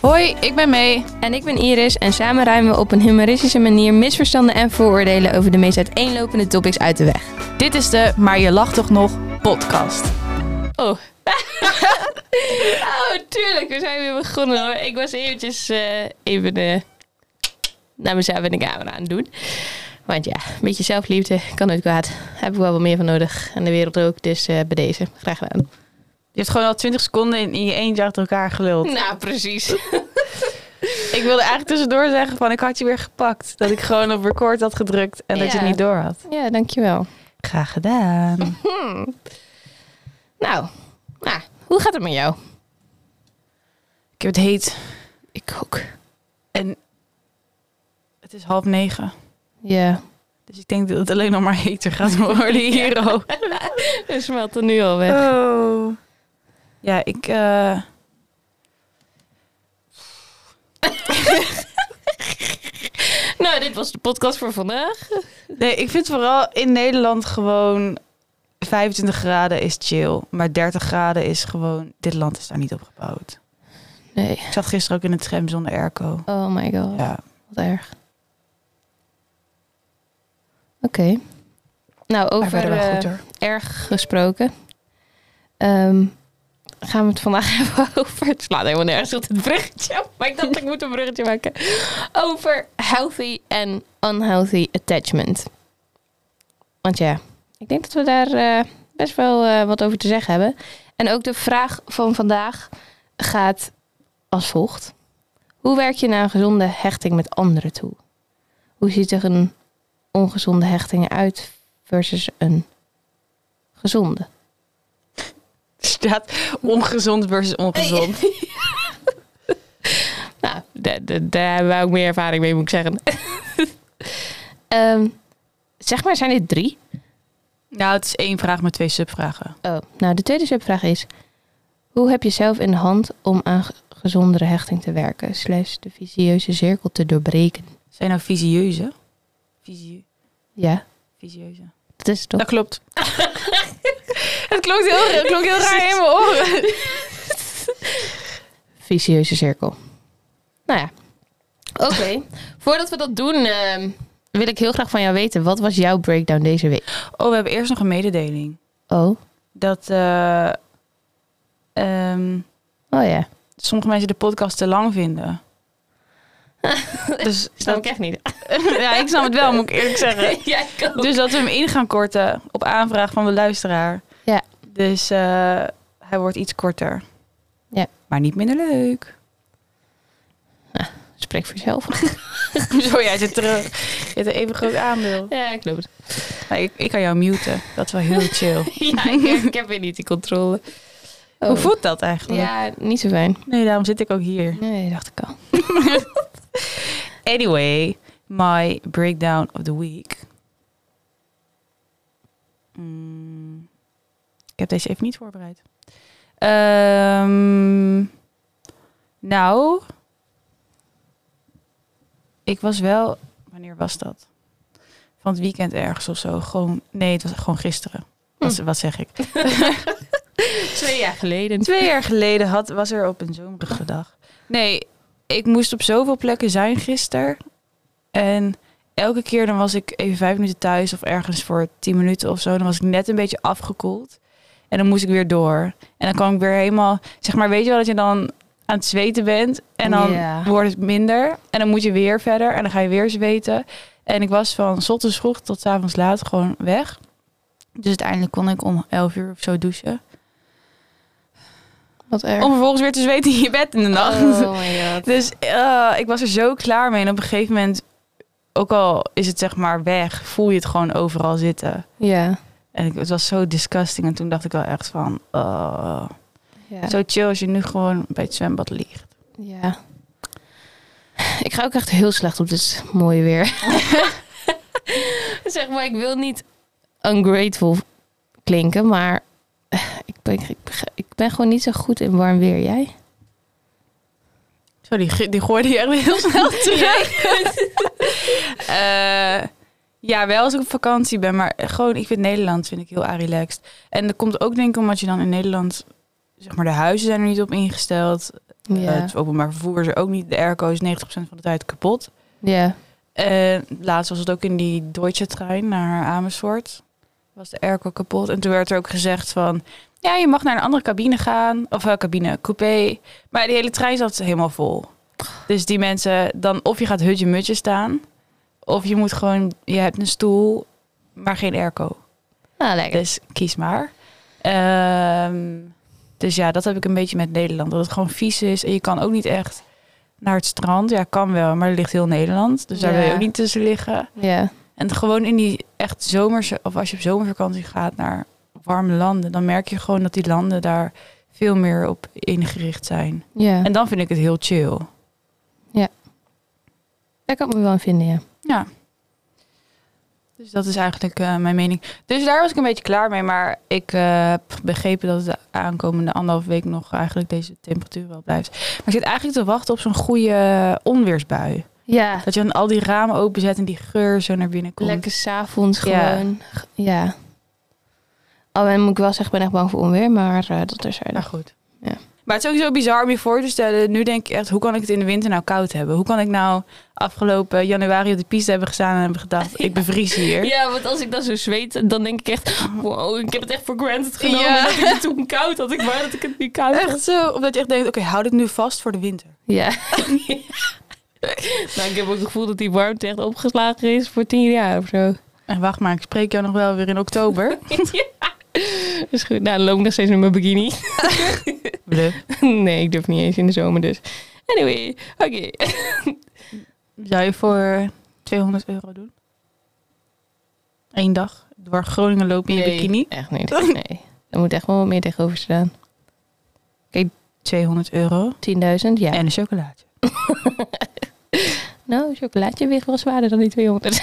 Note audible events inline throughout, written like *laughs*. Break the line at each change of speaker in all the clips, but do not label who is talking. Hoi, ik ben May.
En ik ben Iris en samen ruimen we op een humoristische manier misverstanden en vooroordelen over de meest uiteenlopende topics uit de weg.
Dit is de Maar je lacht toch nog podcast.
Oh. *laughs* oh, tuurlijk, we zijn weer begonnen hoor. Ik was eventjes eh, even eh, naar mezelf in de camera aan het doen. Want ja, een beetje zelfliefde kan nooit kwaad. Heb ik wel wat meer van nodig. En de wereld ook, dus eh, bij deze. Graag gedaan.
Je hebt gewoon al 20 seconden in, in je eentje achter elkaar geluld.
Nou, precies.
*laughs* Ik wilde eigenlijk tussendoor zeggen van ik had je weer gepakt. Dat ik gewoon op record had gedrukt en dat je
Ja.
het niet door had.
Ja, dankjewel. Hmm.
Graag gedaan.
Nou, nou, hoe gaat het met jou?
Ik heb het heet
Ik ook.
en het is half negen.
Ja.
Dus ik denk dat het alleen nog maar heter gaat worden hier ook.
Het smelt er Dus nu al weg.
Oh. Ja, ik... eh,
Nou, dit was de podcast voor vandaag.
Nee, ik vind vooral in Nederland gewoon 25 graden is chill. Maar 30 graden is gewoon... Dit land is daar niet op gebouwd.
Nee.
Ik zat gisteren ook in een tram zonder airco.
Oh my god.
Ja.
Wat erg. Oké. Nou,
Maar
over
verder wel
eh,
goed hoor.
erg gesproken. Ehm, gaan we het vandaag *laughs* hebben over... Het slaat helemaal nergens op het bruggetje. op, Maar ik dacht, ik moet een bruggetje maken. Over healthy en unhealthy attachment. Want ja, ik denk dat we daar eh, best wel eh, wat over te zeggen hebben. En ook de vraag van vandaag gaat als volgt. Hoe werk je naar een gezonde hechting met anderen toe? Hoe ziet er een ongezonde hechting uit versus een gezonde?
staat ongezond versus ongezond.
Nou, da- da- daar hebben we ook meer ervaring mee, moet ik zeggen. *laughs* Ehm, zeg maar, zijn dit drie?
*laughs* Nou, het is één vraag met twee subvragen.
Oh, nou, de tweede subvraag is... Hoe heb je zelf in de hand om aan ge- gezondere hechting te werken... slash de visieuze cirkel te doorbreken?
Zijn nou visieuze? Visie,
Ja,
visieuze.
dat is toch...
Dat klopt. het klonk heel, het klonk heel raar in mijn oren.
*laughs* Visieuze cirkel. Nou ja. Oké, *laughs* voordat we dat doen... ehm, wil ik heel graag van jou weten... wat was jouw breakdown deze week?
Oh, we hebben eerst nog een mededeling.
Oh,
Dat eh, ehm,
oh ja.
sommige mensen de podcast te lang vinden. dus
Snap
dat-
ik echt niet. Ah,
*laughs* ja, ik snap het wel, moet ik eerlijk *laughs* zeggen.
ja, ik ook.
Dus dat we hem in gaan korten op aanvraag van de luisteraar.
Ja.
Dus eh, hij wordt iets korter.
Ja.
Maar niet minder leuk.
Spreek voor jezelf.
*laughs* Zo, jij zit terug. Je hebt een even groot aandeel.
*laughs* Ja, ik geloof het.
Nou, ik, ik kan jou muten. Dat is wel heel chill.
*laughs* Ja, ik, ik heb weer niet die controle.
Hoe voelt dat eigenlijk?
Ja, niet zo fijn.
Nee, daarom zit ik ook hier.
Nee, dacht ik al.
Anyway, my breakdown of the week. Mm, ik heb deze even niet voorbereid. Ehm, nou, ik was wel. Wanneer was dat? Van het weekend ergens of zo. Gewoon, nee, het was gewoon gisteren. Wat, wat zeg ik?
*laughs* Twee jaar geleden.
Twee jaar geleden had, was er op een zomerige dag. Nee, ik moest op zoveel plekken zijn gisteren. En elke keer dan was ik even vijf minuten thuis of ergens voor tien minuten of zo. Dan was ik net een beetje afgekoeld. En dan moest ik weer door. En dan kwam ik weer helemaal... Zeg maar, weet je wel dat je dan aan het zweten bent? En dan
Ja.
wordt het minder. En dan moet je weer verder. En dan ga je weer zweten. En ik was van 's ochtends vroeg tot 's avonds laat gewoon weg. Dus uiteindelijk kon ik om elf uur of zo douchen.
Wat erg.
Om vervolgens weer te zweten in je bed in de nacht.
Oh my *laughs*
*laughs*
god.
Dus eh, ik was er zo klaar mee. En op een gegeven moment, ook al is het zeg maar weg, voel je het gewoon overal zitten.
Ja.
En ik, het was zo disgusting. En toen dacht ik wel echt van, oh.
Ja.
zo chill als je nu gewoon bij het zwembad ligt.
ja. Ik ga ook echt heel slecht op dit mooie weer. *laughs* zeg maar, ik wil niet ungrateful klinken, maar eh, ik ben, ik, ik ben gewoon niet zo goed in warm weer. Jij?
Zo, die, ge- die gooide je echt *laughs* heel snel terug. *laughs* Eh, ja, wel als ik op vakantie ben. Maar gewoon, ik vind Nederland vind ik heel relaxed. En dat komt ook denk ik omdat je dan in Nederland zeg maar, de huizen zijn er niet op ingesteld.
Ja.
Eh, het openbaar vervoer is er ook niet. De airco is 90% van de tijd kapot.
Ja.
En laatst was het ook in die Deutsche-trein naar Amersfoort. Was de airco kapot. En toen werd er ook gezegd van... Ja, je mag naar een andere cabine gaan. Of eh, cabine, coupé. Maar die hele trein zat helemaal vol. Dus die mensen... Dan of je gaat hutje-mutje staan... Of je moet gewoon... Je hebt een stoel, maar geen airco.
Nou, lekker.
Dus kies maar. Ehm, dus ja, dat heb ik een beetje met Nederland. Dat het gewoon vies is. En je kan ook niet echt naar het strand. Ja, kan wel, maar er ligt heel Nederland. Dus daar wil je
Ja.
ook niet tussen liggen.
Ja.
En gewoon in die echt zomerse... Of als je op zomervakantie gaat naar warme landen... dan merk je gewoon dat die landen daar veel meer op ingericht zijn.
Ja.
En dan vind ik het heel chill.
Daar kan ik me wel in vinden, ja.
Ja. Dus dat is eigenlijk eh, mijn mening. Dus daar was ik een beetje klaar mee. Maar ik eh, heb begrepen dat het de aankomende anderhalf week nog eigenlijk deze temperatuur wel blijft. Maar ik zit eigenlijk te wachten op zo'n goede onweersbui.
Ja.
Dat je dan al die ramen openzet en die geur zo naar binnen komt.
Lekker s'avonds
Ja.
gewoon. Ja. Al Oh, moet ik wel zeggen, ik ben echt bang voor onweer, maar eh, dat is er.
Maar goed.
Ja.
Maar het is sowieso bizar om je voor te stellen. Nu denk ik echt, hoe kan ik het in de winter nou koud hebben? Hoe kan ik nou afgelopen januari op de piste hebben gestaan en hebben gedacht,
*laughs*
ik bevries hier.
Ja, want als ik dan zo zweet, dan denk ik echt, wow, ik heb het echt voor granted genomen
Ja.
dat ik het toen koud had. Ik wou dat ik het niet koud had.
Echt zo, omdat je echt denkt, oké, houd het nu vast voor de winter.
Ja. *laughs* nou, ik heb ook het gevoel dat die warmte echt opgeslagen is voor tien jaar of zo.
En wacht maar, ik spreek jou nog wel weer in *laughs* oktober.
Is goed. Nou, dan loop ik nog steeds met mijn bikini. *laughs* nee, ik durf niet eens in de zomer dus. Anyway, oké.
Zou je voor 200 euro doen? Eén dag. Door Groningen lopen in je bikini.
Echt niet. Nee. Er moet echt wel wat meer tegenover staan.
200 euro.
10.000, ja.
En een chocolaatje.
Nou, chocolaatje weegt wel zwaarder dan die 200.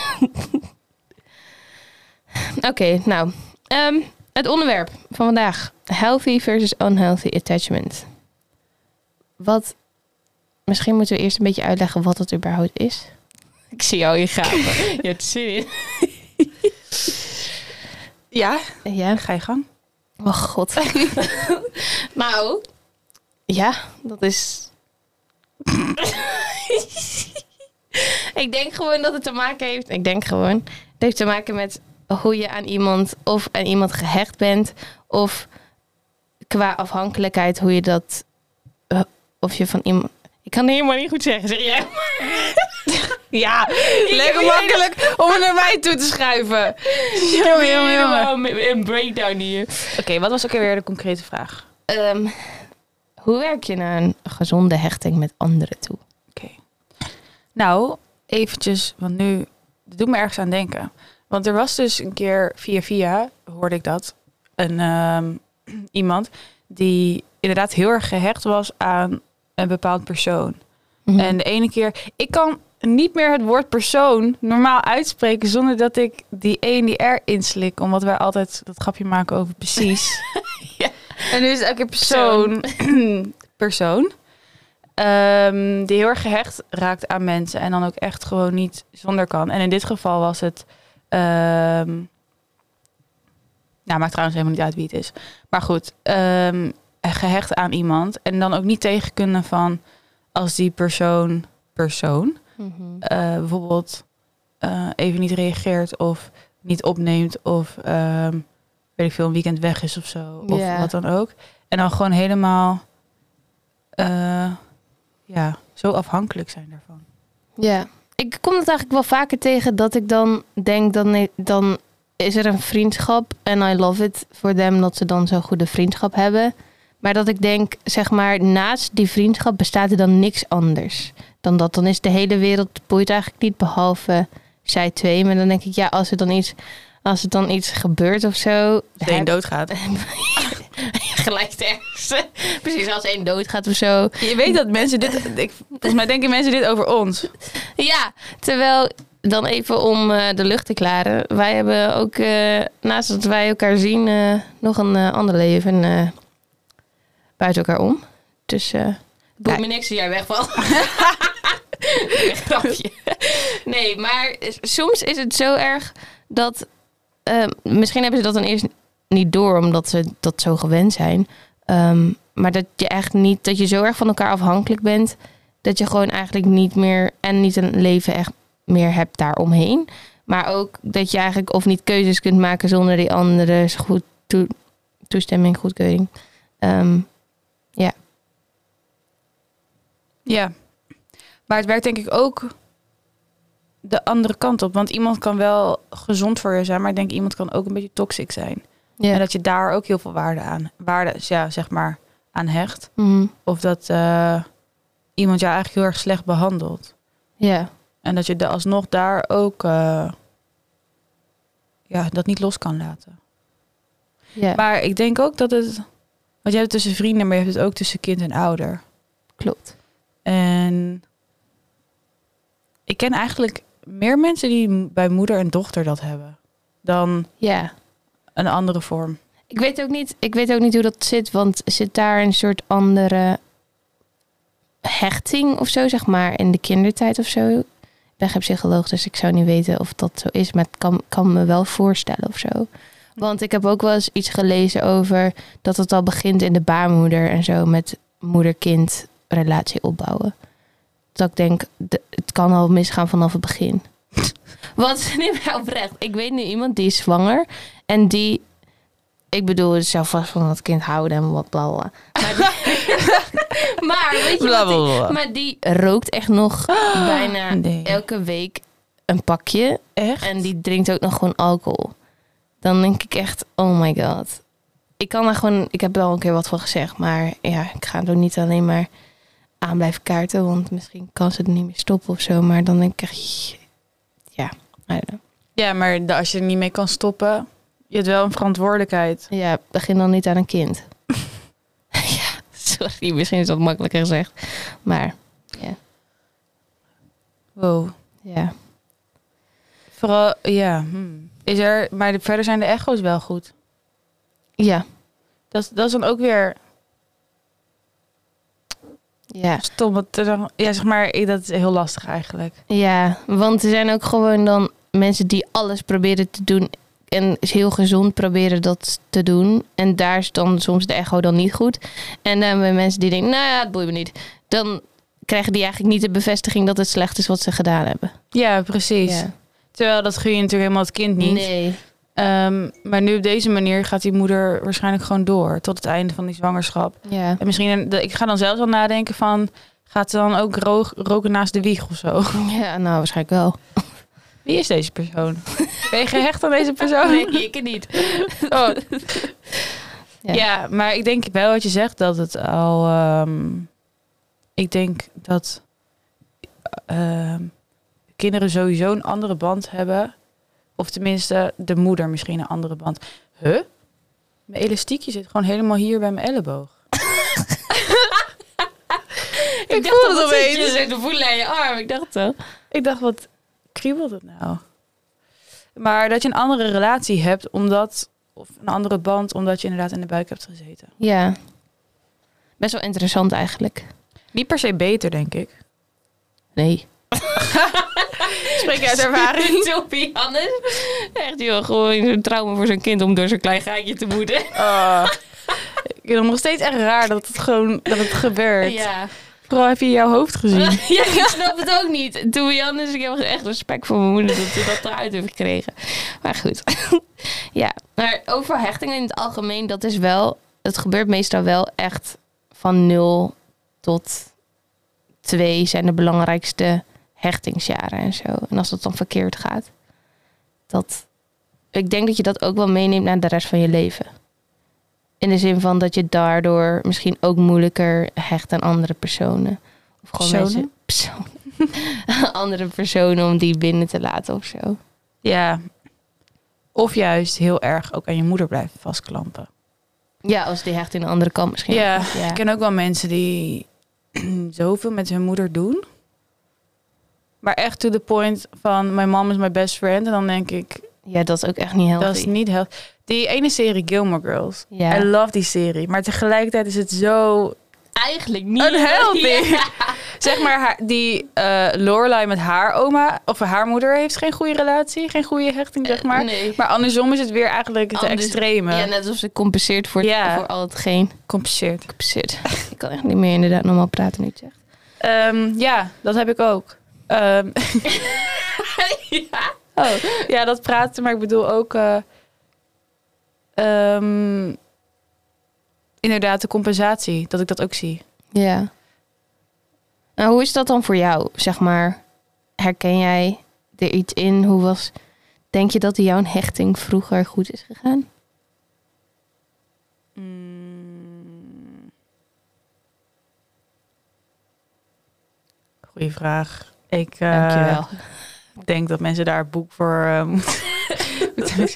*laughs* Oké, nou. Ehm, het onderwerp van vandaag. Healthy versus unhealthy attachment. Wat... Misschien moeten we eerst een beetje uitleggen wat het überhaupt is. Ik zie jou hier gaan. Je hebt zin in.
Ja,
Ja.
ga je gang.
Oh *laughs* god. nou. Ja, dat is... *laughs* ik denk gewoon dat het te maken heeft... Ik denk gewoon... Het heeft te maken met hoe je aan iemand of aan iemand gehecht bent. Of qua afhankelijkheid hoe je dat... eh, of je van iemand... Ik kan het helemaal niet goed zeggen, zeg jij.
*laughs* Ja,
heb
lekker
hier
makkelijk om het naar mij toe te schuiven. Jongen, jongen, jongen.
Helemaal Een breakdown hier.
Oké, wat was ook alweer de concrete vraag?
Ehm, hoe werk je naar een gezonde hechting met anderen toe?
Oké. Nou, eventjes, want nu dat doet me ergens aan denken. Want er was dus een keer via via, hoorde ik dat, een, ehm, *clears throat* iemand die inderdaad heel erg gehecht was aan een bepaald persoon.
Mhm.
En de ene keer, ik kan niet meer het woord persoon normaal uitspreken zonder dat ik die E en die R inslik. Omdat wij altijd dat grapje maken over precies.
Ja.
En nu is het elke keer persoon. *clears throat* persoon. Ehm, die heel erg gehecht raakt aan mensen en dan ook echt gewoon niet zonder kan. En in dit geval was het. ehm nou, maakt trouwens helemaal niet uit wie het is. Maar goed, ehm, gehecht aan iemand. En dan ook niet tegen kunnen van als die persoon, persoon,
Mhm.
eh, bijvoorbeeld eh, even niet reageert of niet opneemt of ehm, weet ik veel, een weekend weg is of zo. Of
Ja.
wat dan ook. En dan gewoon helemaal eh, ja, zo afhankelijk zijn daarvan.
Ja. Ik kom het eigenlijk wel vaker tegen dat ik dan denk, dan, dan is er een vriendschap en I love it voor them dat ze dan zo'n goede vriendschap hebben. Maar dat ik denk, zeg maar, naast die vriendschap bestaat er dan niks anders dan dat. Dan is de hele wereld boeit eigenlijk niet, behalve zij twee. Maar dan denk ik, ja, als er dan iets, als er dan iets gebeurt of zo.
Als één doodgaat.
*laughs* gelijk ergens. Precies, als één doodgaat of zo.
*laughs* Je weet dat mensen dit... Ik, volgens mij denken mensen dit over ons.
*laughs* Ja, terwijl dan even om eh, de lucht te klaren. Wij hebben ook, eh, naast dat wij elkaar zien, eh, nog een eh, ander leven eh, buiten elkaar om. Dus eh
boeit
me niks dat jij wegvalt. Grapje. Nee, maar soms is het zo erg dat... eh, misschien hebben ze dat dan eerst niet door, omdat ze dat zo gewend zijn. Ehm, Maar dat je echt niet, dat je zo erg van elkaar afhankelijk bent, dat je gewoon eigenlijk niet meer en niet een leven echt meer hebt daaromheen. Maar ook dat je eigenlijk of niet keuzes kunt maken zonder die andere goed toe- toestemming, goedkeuring. Ehm,
Ja. Maar het werkt denk ik ook de andere kant op. Want iemand kan wel gezond voor je zijn, maar ik denk iemand kan ook een beetje toxic zijn.
ja.
En dat je daar ook heel veel waarde aan, waarde, ja, zeg maar, aan hecht.
Mhm.
Of dat eh, iemand jou eigenlijk heel erg slecht behandelt.
ja.
En dat je da- alsnog daar ook eh, ja, dat niet los kan laten.
ja.
Maar ik denk ook dat het. Want je hebt het tussen vrienden, maar je hebt het ook tussen kind en ouder.
Klopt.
En ik ken eigenlijk meer mensen die m- bij moeder en dochter dat hebben dan
Ja.
een andere vorm.
Ik weet, ook niet, ik weet ook niet hoe dat zit, want zit daar een soort andere hechting of zo, zeg maar, in de kindertijd of zo? Ik ben geen psycholoog, dus ik zou niet weten of dat zo is, maar het kan, kan me wel voorstellen of zo. Want ik heb ook wel eens iets gelezen over dat het al begint in de baarmoeder en zo met moeder-kind relatie opbouwen. Dat ik denk, d- het kan al misgaan vanaf het begin. *laughs* Want, *laughs* nee, maar oprecht, ik weet nu iemand die is zwanger en die ik bedoel, het zou vast van dat kind houden en wat bla bla, bla. Maar, die- *laughs* maar weet je wat? die- Maar die rookt echt nog *gasps* bijna
Ah, Nee.
elke week een pakje.
Echt?
En die drinkt ook nog gewoon alcohol. Dan denk ik echt, oh my god. Ik kan daar gewoon, ik heb er al een keer wat van gezegd. Maar ja, ik ga het ook niet alleen maar aan blijven kaarten. Want misschien kan ze het niet meer stoppen of zo. Maar dan denk ik echt, ja, I don't know.
Ja, maar da- als je er niet mee kan stoppen, je hebt wel een verantwoordelijkheid.
Ja, begin dan niet aan een kind. *laughs* ja, sorry, misschien is dat makkelijker gezegd. Maar
Wow.
ja.
Vooral, ja. hmm. Is er, maar de- verder zijn de echo's wel goed.
Ja,
Dat, is- dat is dan ook weer
ja.
stom. want er dan- Ja, zeg maar, ik- dat is heel lastig eigenlijk.
Ja, want er zijn ook gewoon dan mensen die alles proberen te doen. En heel gezond proberen dat te doen. En daar is dan soms de echo dan niet goed. En dan bij mensen die denken, nou ja, het boeit me niet. Dan krijgen die eigenlijk niet de bevestiging dat het slecht is wat ze gedaan hebben.
Ja, precies.
Ja.
Terwijl dat gun je natuurlijk helemaal het kind niet.
Nee.
Ehm, maar nu op deze manier gaat die moeder waarschijnlijk gewoon door tot het einde van die zwangerschap.
Ja.
En misschien, een- de- ik ga dan zelfs al nadenken van, gaat ze dan ook roog- roken naast de wieg of zo?
ja, nou waarschijnlijk wel.
Wie is deze persoon? *laughs* Ben je gehecht aan deze persoon?
ik
*laughs*
niet.
Oh.
Ja.
Ja. maar ik denk wel wat je zegt dat het al. ehm, ik denk dat ehm, kinderen sowieso een andere band hebben. Of tenminste, de moeder misschien een andere band. Huh? Mijn elastiekje zit gewoon helemaal hier bij mijn elleboog.
Ik,
Ik
dacht
voel
dat
het
het
opeens.
je zo te voelen aan je arm. Ik dacht zo.
Ik dacht, wat kriebelt het nou? Maar dat je een andere relatie hebt, omdat. Of een andere band, omdat je inderdaad in de buik hebt gezeten.
Ja. Best wel interessant eigenlijk.
Niet per se beter, denk ik.
Nee.
Spreek je uit *laughs* ervaring.
*laughs* Sophie Hannes. Echt joh, gewoon een trauma voor zo'n kind om door zo'n klein gaatje te moeten.
Oh. ik vind het nog steeds echt raar dat het gewoon dat het
*laughs*
gebeurt. Vooral heb je jouw hoofd
ja,
*laughs* gezien.
*laughs* ik snap het ook niet. Toen Hannes, ik heb echt respect voor mijn moeder dat ze dat eruit heeft gekregen. Maar goed. *laughs* ja, maar over hechtingen in het algemeen, dat is wel... Het gebeurt meestal wel echt van 0 tot 2 zijn de belangrijkste hechtingsjaren en zo. En als dat dan verkeerd gaat, dat... Ik denk dat je dat ook wel meeneemt naar de rest van je leven. In de zin van dat je daardoor misschien ook moeilijker hecht aan andere personen. Of gewoon
Personen?
mensen... *laughs* Personen. andere personen om die binnen te laten of zo.
Ja. Of juist heel erg ook aan je moeder blijven vastklampen.
Ja, als die hecht in een andere kant misschien.
Ja,
Ja.
ik ken ook wel mensen die *clears throat* zoveel met hun moeder doen. Maar echt to the point van mijn mom is my best friend. En dan denk ik,
Ja, dat is ook echt niet healthy.
dat is niet heel... Die ene serie Gilmore Girls.
Ja.
I love die serie. Maar tegelijkertijd is het zo
Eigenlijk niet.
Unhealthy.
*laughs* Ja.
zeg maar, haar, die eh Lorelai met haar oma of haar moeder heeft geen goede relatie, geen goede hechting, zeg maar.
Eh, nee.
Maar andersom is het weer eigenlijk het
Anders-
extreme.
Ja, net alsof ze compenseert voor,
Ja.
voor al hetgeen.
Compenseert.
Compenseert. ik kan echt niet meer inderdaad normaal praten nu, zeg.
Ehm, ja, dat heb ik ook. Ehm,
*laughs* ja.
oh, ja, dat praten, maar ik bedoel ook. eh, ehm, inderdaad, de compensatie, dat ik dat ook zie.
Ja. Nou, hoe is dat dan voor jou, zeg maar? Herken jij er iets in? Hoe was... Denk je dat jouw hechting vroeger goed is gegaan?
Mm. Goeie vraag. Ik eh,
Dankjewel.
denk dat mensen daar een boek voor eh, *laughs* moeten. moeten-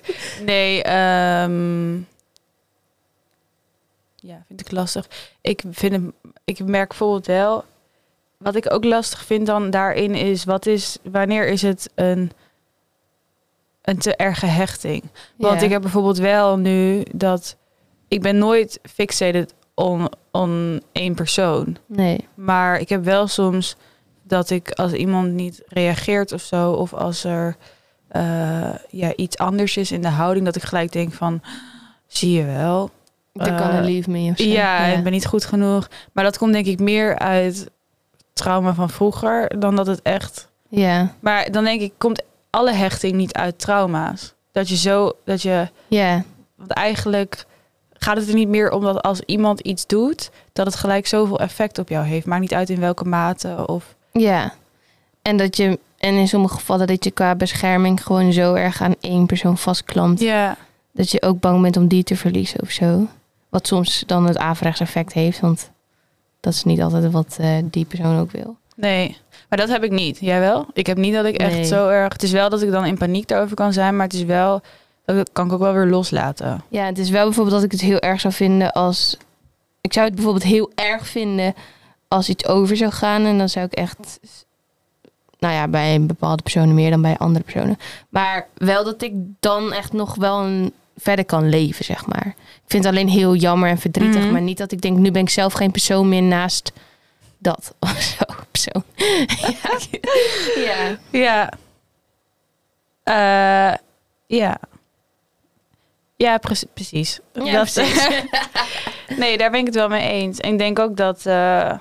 nee, ehm, ja, vind ik lastig. Ik vind het, ik merk bijvoorbeeld wel. Wat ik ook lastig vind dan daarin is, wat is, wanneer is het een, een te erge hechting? Want
Ja.
ik heb bijvoorbeeld wel nu dat ik ben nooit fixated on, on één persoon.
Nee.
Maar ik heb wel soms dat ik als iemand niet reageert of zo, of als er eh, ja, iets anders is in de houding, dat ik gelijk denk van, zie je wel.
Dan
Eh,
kan een leave me of zo.
Ja, ik ben niet goed genoeg. Maar dat komt denk ik meer uit trauma van vroeger dan dat het echt
Ja.
maar dan denk ik, komt alle hechting niet uit trauma's? Dat je zo, dat je,
Ja.
want eigenlijk gaat het er niet meer om dat als iemand iets doet, dat het gelijk zoveel effect op jou heeft. Maakt niet uit in welke mate of.
Ja. En dat je... En in sommige gevallen dat je qua bescherming gewoon zo erg aan één persoon vastklampt.
Ja,
Dat je ook bang bent om die te verliezen of zo. Wat soms dan het averechts effect heeft. Want dat is niet altijd wat eh, die persoon ook wil.
nee. Maar dat heb ik niet. Jij wel? Ik heb niet dat ik echt
Nee.
zo erg. Het is wel dat ik dan in paniek daarover kan zijn, maar het is wel. Dat kan ik ook wel weer loslaten.
Ja, het is wel bijvoorbeeld dat ik het heel erg zou vinden als... Ik zou het bijvoorbeeld heel erg vinden als iets over zou gaan. En dan zou ik echt... Nou ja, bij een bepaalde personen meer dan bij andere personen. Maar wel dat ik dan echt nog wel een, verder kan leven, zeg maar. Ik vind het alleen heel jammer en verdrietig.
Mhm.
Maar niet dat ik denk, nu ben ik zelf geen persoon meer naast dat. *laughs* Of zo,
*laughs*
persoon. ja. ja.
Ja. Eh, ja. Ja, prec- precies. Dat- Nee, daar ben ik het wel mee eens. En ik denk ook dat eh,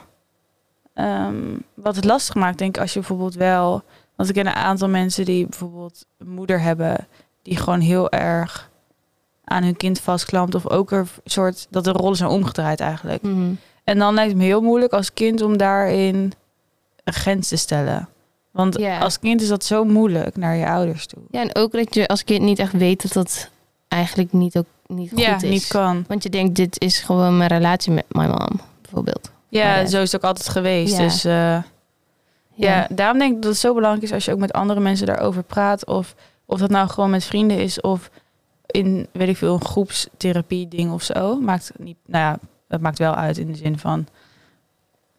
ehm, wat het lastig maakt, denk ik, als je bijvoorbeeld wel. Want ik ken een aantal mensen die bijvoorbeeld een moeder hebben, die gewoon heel erg aan hun kind vastklampt. Of ook een soort dat de rollen zijn omgedraaid eigenlijk.
Mhm.
En dan lijkt het me heel moeilijk als kind om daarin een grens te stellen. Want
Ja.
als kind is dat zo moeilijk naar je ouders toe.
Ja, en ook dat je als kind niet echt weet dat dat eigenlijk niet, ook, niet goed
ja,
is.
niet kan.
Want je denkt, dit is gewoon mijn relatie met mijn mom, bijvoorbeeld.
Ja,
Maar, eh,
zo is het ook altijd geweest.
ja.
Dus eh, Ja. daarom denk ik dat het zo belangrijk is als je ook met andere mensen daarover praat. Of, of dat nou gewoon met vrienden is of in, weet ik veel, een groepstherapie ding of zo. Maakt niet, nou ja, dat maakt wel uit in de zin van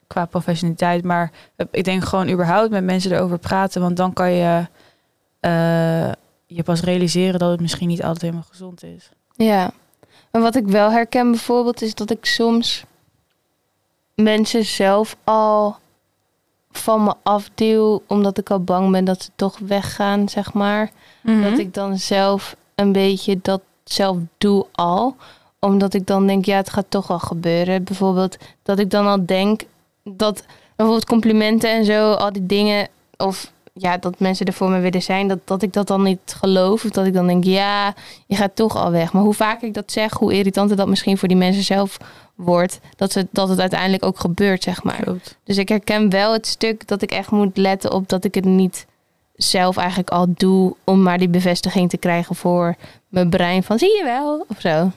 qua professionaliteit. Maar eh, ik denk gewoon überhaupt met mensen erover praten. Want dan kan je eh, je pas realiseren dat het misschien niet altijd helemaal gezond is.
Ja. En wat ik wel herken bijvoorbeeld is dat ik soms mensen zelf al van me afduw omdat ik al bang ben dat ze toch weggaan, zeg maar. Dat
Mhm.
ik dan zelf een beetje dat zelf doe al. Omdat ik dan denk, ja, het gaat toch al gebeuren. Bijvoorbeeld dat ik dan al denk dat bijvoorbeeld complimenten en zo, al die dingen. Of ja, dat mensen er voor me willen zijn. Dat, dat ik dat dan niet geloof. Of dat ik dan denk, ja, je gaat toch al weg. Maar hoe vaak ik dat zeg, hoe irritanter dat misschien voor die mensen zelf wordt. Dat, ze, dat het uiteindelijk ook gebeurt, zeg maar.
Klopt.
Dus ik herken wel het stuk dat ik echt moet letten op dat ik het niet zelf eigenlijk al doe om maar die bevestiging te krijgen voor mijn brein van zie je wel of zo.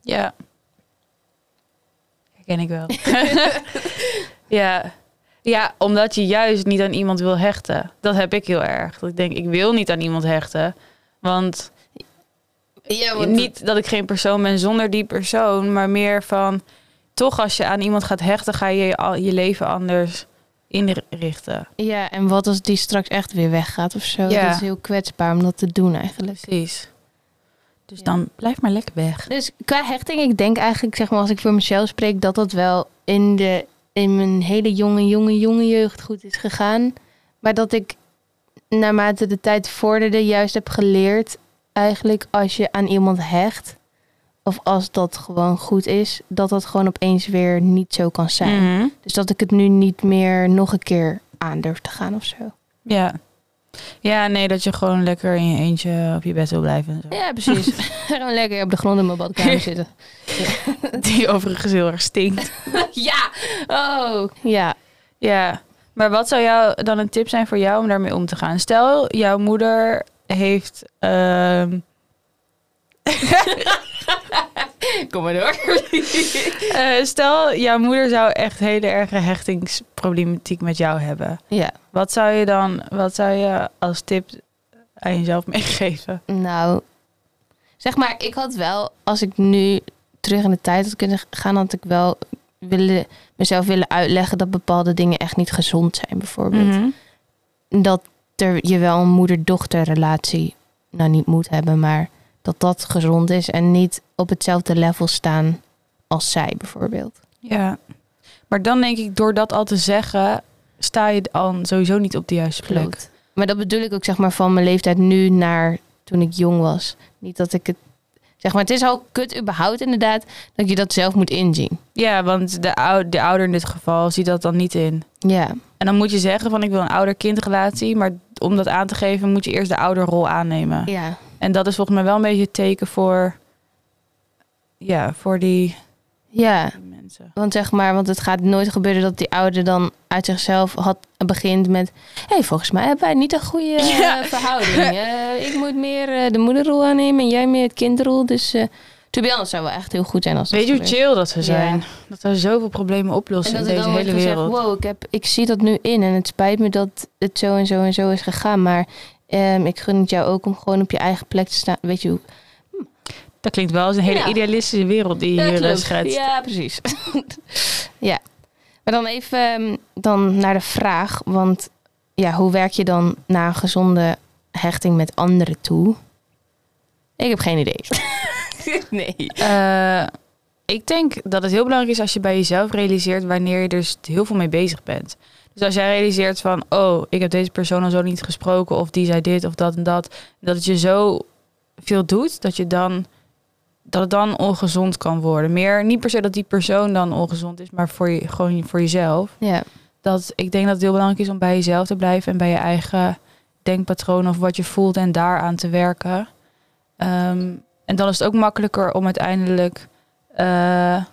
Ja. Herken ik
*laughs*
wel. ja. Ja, omdat je juist niet aan iemand wil hechten. Dat heb ik heel erg. Dat ik denk, ik wil niet aan iemand hechten. Want
Ja,
niet dat ik geen persoon ben zonder die persoon, maar meer van toch als je aan iemand gaat hechten, ga je je, al- je leven anders inrichten.
Ja, en wat als die straks echt weer weggaat of zo?
Ja.
Dat is heel kwetsbaar om dat te doen eigenlijk.
Precies. Dus
Ja.
dan blijf maar lekker weg.
Dus qua hechting, ik denk eigenlijk, zeg maar, als ik voor mezelf spreek, dat dat wel in de in mijn hele jonge, jonge, jonge jeugd goed is gegaan. Maar dat ik naarmate de tijd vorderde juist heb geleerd... eigenlijk als je aan iemand hecht... of als dat gewoon goed is... dat dat gewoon opeens weer niet zo kan zijn.
Mhm.
Dus dat ik het nu niet meer nog een keer aan durf te gaan of zo.
Ja. Ja, nee, dat je gewoon lekker in je eentje op je bed wil blijven. en zo.
Ja, precies. *laughs* Gewoon lekker op de grond in mijn *laughs* badkamer zitten.
*laughs* Die overigens heel erg stinkt.
ja! Oh! Ja.
Ja, maar wat zou jou dan een tip zijn voor jou om daarmee om te gaan? Stel, jouw moeder heeft. ehm,
Kom maar door.
eh, stel, jouw moeder zou echt hele erge hechtingsproblematiek met jou hebben.
Ja.
Wat zou je dan, wat zou je als tip aan jezelf *laughs* meegeven?
Nou, zeg maar, ik had wel, als ik nu terug in de tijd had kunnen gaan, had ik wel willen, mezelf willen uitleggen dat bepaalde dingen echt niet gezond zijn, bijvoorbeeld.
Mhm.
Dat er, je wel een moeder-dochterrelatie, nou niet moet hebben, maar dat dat gezond is en niet op hetzelfde level staan als zij, bijvoorbeeld.
Ja. Maar dan denk ik, door dat al te zeggen, sta je dan sowieso niet op de juiste plek.
Klopt. Maar dat bedoel ik ook zeg maar van mijn leeftijd nu naar toen ik jong was. Niet dat ik het zeg maar het is al kut überhaupt inderdaad dat je dat zelf moet inzien.
Ja, want de, ou- de ouder in dit geval ziet dat dan niet in.
Ja.
En dan moet je zeggen van ik wil een ouder-kindrelatie. Maar om dat aan te geven moet je eerst de ouderrol aannemen.
Ja.
En dat is volgens mij wel een beetje het teken voor, ja, voor die,
Ja,
die mensen.
want zeg maar want het gaat nooit gebeuren dat die ouder dan uit zichzelf had begint met hé, hey, volgens mij hebben wij niet een goede
*laughs*
eh,
Ja.
verhouding. Eh, ik moet meer eh, de moederrol aannemen en jij meer het kindrol. Dus eh to be honest zou wel echt heel goed zijn als dat
Weet je hoe
gebeurt.
chill dat ze
Ja.
zijn? Dat ze zoveel problemen oplossen in
En dat ik
deze
dan wordt
hele
gezegd,
wereld.
wow, ik, heb, ik zie dat nu in en het spijt me dat het zo en zo en zo is gegaan. Maar ehm, ik gun het jou ook om gewoon op je eigen plek te staan. Weet je hoe?
Dat klinkt wel als een hele
Ja.
idealistische wereld die je hier eh, schetst.
Ja, precies. *laughs* ja. Maar dan even ehm, dan naar de vraag. Want ja, hoe werk je dan naar een gezonde hechting met anderen toe? Ik heb geen idee. *laughs* nee.
Eh, ik denk dat het heel belangrijk is als je bij jezelf realiseert wanneer je dus heel veel mee bezig bent. Dus als jij realiseert van, oh, ik heb deze persoon al zo niet gesproken, of die zei dit of dat en dat, dat het je zo veel doet, dat je dan dat het dan ongezond kan worden. Meer niet per se dat die persoon dan ongezond is, maar voor je, gewoon voor jezelf.
Ja.
Dat ik denk dat het heel belangrijk is om bij jezelf te blijven en bij je eigen denkpatroon of wat je voelt en daaraan te werken. Ehm, en dan is het ook makkelijker om uiteindelijk eh,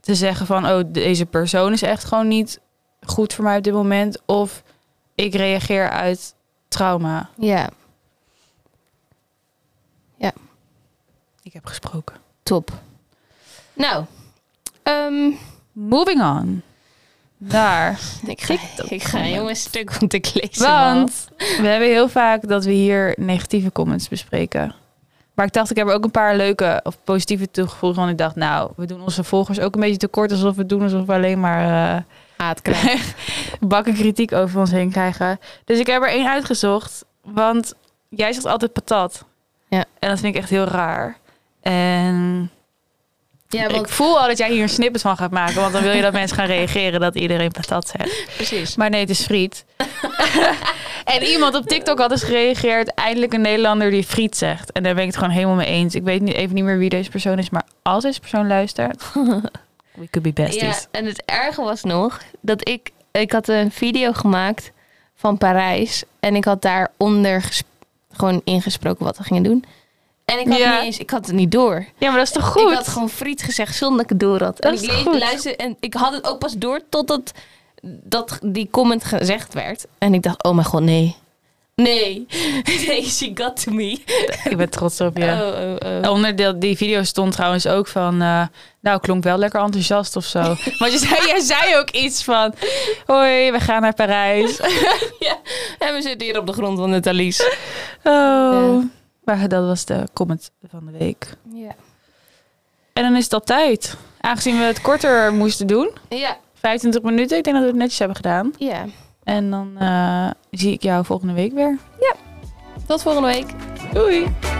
te zeggen van, oh, deze persoon is echt gewoon niet goed voor mij op dit moment. Of ik reageer uit trauma.
Ja,
Ik heb gesproken.
top. Nou. ehm,
Moving on. Daar.
Ik ga,
TikTok
ik ga
comments.
helemaal stuk om te lezen.
Want we hebben heel vaak dat we hier negatieve comments bespreken. Maar ik dacht, ik heb er ook een paar leuke of positieve toegevoegd. Want ik dacht, nou, we doen onze volgers ook een beetje tekort. Alsof we doen alsof we alleen maar eh,
haatkrijgen.
*laughs* bakken kritiek over ons heen krijgen. Dus ik heb er één uitgezocht. Want jij zegt altijd patat.
Ja.
En dat vind ik echt heel raar. En
*laughs* Ja,
ik voel al dat jij hier een snippet van gaat maken. Want dan wil je dat *laughs* mensen gaan reageren dat iedereen patat zegt.
precies.
Maar nee, het is *laughs* friet. en iemand op TikTok had eens gereageerd. Eindelijk een Nederlander die friet zegt. En daar ben ik het gewoon helemaal mee eens. Ik weet niet, even niet meer wie deze persoon is. Maar als deze persoon luistert. *laughs* We could be
Ja,
besties.
en het erge was nog dat ik... Ik had een video gemaakt van Parijs. En ik had daaronder ges- gewoon ingesproken wat we gingen doen. En ik had,
Ja.
niet eens, ik had het niet door.
Ja, maar dat is toch
Ik had
goed?
gewoon friet gezegd zonder dat ik het door had. en
Dat
ik
is
lees-
goed.
luister en ik had het ook pas door totdat dat die comment gezegd werd. En ik dacht, oh mijn god, nee. Nee. *laughs* Nee, she got to me.
Ik ben trots op *laughs* je.
Oh, oh, oh.
Onder de- die video stond trouwens ook van... eh, nou, klonk wel lekker enthousiast *laughs* of zo. Want je zei, jij zei ook iets van... Hoi, we gaan naar *laughs* Parijs.
En we zitten hier op de grond van het Alice.
Oh.
Ja.
Maar dat was de comment van de week.
Ja.
En dan is dat tijd. Aangezien we het korter moesten doen,
Ja,
25 minuten, ik denk dat we het netjes hebben gedaan.
ja.
En dan eh, zie ik jou volgende week weer.
Tot volgende week.
Doei!